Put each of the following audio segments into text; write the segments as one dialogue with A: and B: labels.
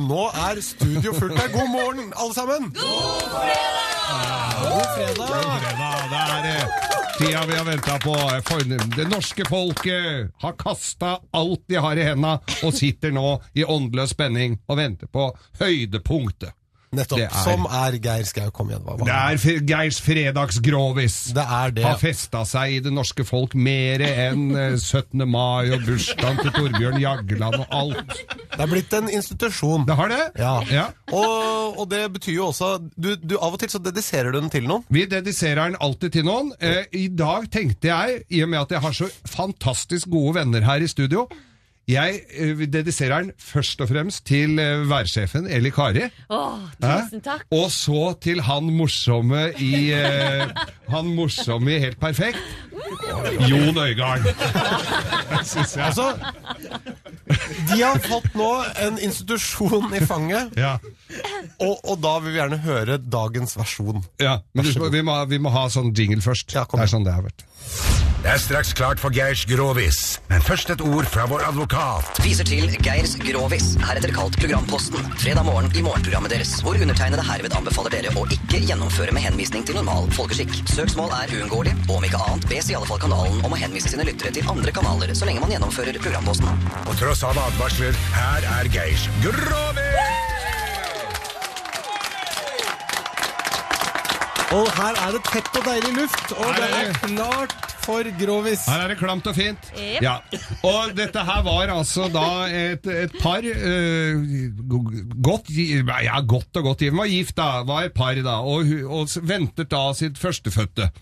A: nå er studio fullt her. God morgen, alle sammen! God fredag!
B: God fredag. Det er eh, tida vi har venta på. For- Det norske folket har kasta alt de har i henda, og sitter nå i åndeløs spenning og venter på høydepunktet.
A: Nettopp.
B: Det er-
A: Som er Geir Skau. Kom igjen, hva
B: Det
A: var det?
B: er Fe- Geirs fredagsgrovis.
A: Det er det.
B: Har festa seg i det norske folk mer enn eh, 17. mai og bursdagen til Torbjørn Jagland og alt.
A: Det er blitt en institusjon.
B: Det har det?
A: Ja.
B: ja.
A: Og, og det betyr jo også du, du Av og til så dediserer du den til noen.
B: Vi dediserer den alltid til noen. Eh, I dag tenkte jeg, i og med at jeg har så fantastisk gode venner her i studio, jeg eh, dediserer den først og fremst til eh, værsjefen Eli Kari.
C: Åh,
B: Hæ?
C: tusen takk.
B: Og så til han morsomme i eh, Han morsomme i Helt perfekt. Jon Øigarden. Det syns jeg.
A: Altså, de har fått nå en institusjon i fanget,
B: Ja,
A: og, og da vil vi gjerne høre dagens versjon.
B: ja. Men du, vi, må, vi må ha sånn jingle først.
A: Ja, kom
B: det er
A: igjen.
B: sånn det er, vet du.
D: Det er straks klart for Geirs grovis, men først et ord fra vår advokat.
E: Viser til Geirs Grovis, heretter kalt Programposten. Fredag morgen i morgenprogrammet deres, hvor undertegnede herved anbefaler dere å ikke gjennomføre med henvisning til normal folkeskikk. Søksmål er uunngåelig, og om ikke annet bes i alle fall kanalen om å henvise sine lyttere til andre kanaler så lenge man gjennomfører Programposten.
D: På tross av advarsler, her er Geirs grovis!
A: Og her er det tett og deilig luft, og
B: Her
A: det
B: er
A: er
B: det.
A: klart for grovis.
B: Her er det klamt og fint.
C: Yep.
B: Ja. Og dette her var altså da et, et par eh, go- godt, gi- ja, godt og godt gift. Var gift, da. Var et par, da. Og, hu- og s- ventet da sitt førstefødte.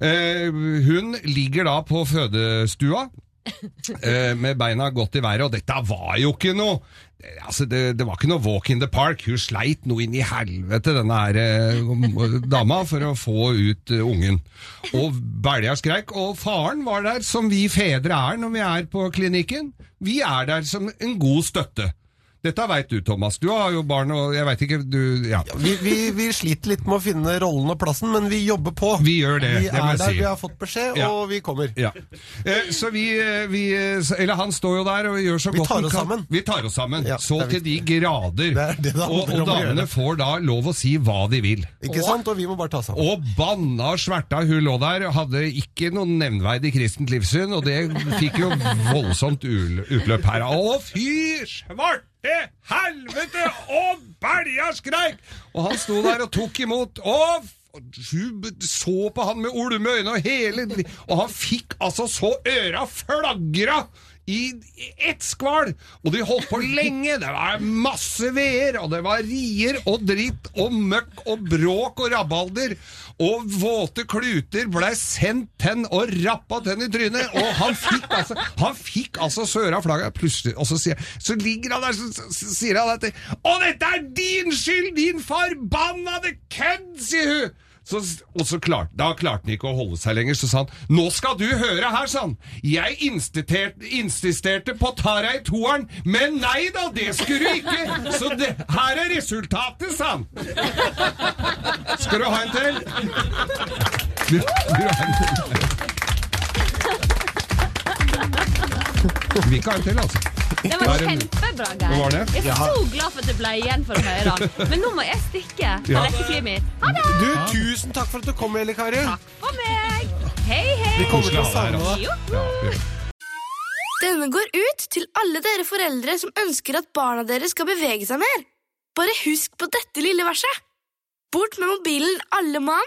B: Eh, hun ligger da på fødestua. eh, Med beina godt i været, og dette var jo ikke noe eh, Altså, det, det var ikke noe walk in the park. Hun sleit noe inn i helvete, denne her eh, dama, for å få ut eh, ungen. Og belja skreik. Og faren var der, som vi fedre er når vi er på klinikken. Vi er der som en god støtte. Dette veit du, Thomas. Du har jo barn, og jeg veit ikke du, ja.
A: Vi, vi, vi sliter litt med å finne rollen og plassen, men vi jobber på.
B: Vi gjør det,
A: Vi
B: det må
A: er
B: jeg
A: der,
B: si.
A: vi har fått beskjed,
B: Ja.
A: og vi kommer.
B: Ja. Eh, Så vi, eh, vi eh, så- Eller han står jo der og gjør så
A: Vi
B: godt
A: tar
B: han
A: oss
B: kan.
A: sammen.
B: Vi tar oss sammen.
A: Ja,
B: så
A: det er
B: til de grader.
A: er det det handler
B: og,
A: om å
B: og damene
A: gjøre.
B: får da lov å si hva de vil.
A: Ikke sant? Og vi må bare ta sammen.
B: Og banna og sverta hun lå der, hadde ikke noen nevnverdig kristent livssyn, og det fikk jo voldsomt ul- utløp her. Å, fy svarte helvete! Og belja skreik! Og han sto der og tok imot. Å, f- hun b- så på han med olme øyne og hele li- Og han fikk altså så øra flagra! I i ett skval! Og de holdt på lenge. Det var masse veer, og det var rier og dritt og møkk og bråk og rabalder. Og våte kluter blei sendt tenn og rappa tenn i trynet. Og han fikk altså, han fikk altså søra flagget. Plutselig, og så, sier, så ligger han der så, så, så sier han at Å, dette er din skyld, din forbannede kødd, sier hun! Så, og så klart, Da klarte han ikke å holde seg lenger, så sa han Nå skal du høre her, sa han. Jeg insisterte, insisterte på Tara i toeren, men nei da, det skulle du ikke! Så det, her er resultatet, sa han. Skal du ha en til? Du, du har en til. Du vil ikke ha en til, altså.
C: Det var
B: Det er en-
C: kjempebra,
B: Det var
C: Geir.
B: det.
C: Jeg er så glad for at det ble igjen for å høre han. Men nå må jeg stikke.
B: Ja.
C: Ha rekkeklivet mitt. Ha det!
A: Du, tusen takk for at du kom, Eli Kari.
C: Takk for meg. Hei, hei.
A: Vi kommer til å
B: Koselig å ha deg her,
A: savne deg.
C: Joho.
B: Ja, vi-
F: Denne går ut til alle dere foreldre som ønsker at barna deres skal bevege seg mer. Bare husk på dette lille verset. Bort med mobilen, alle mann,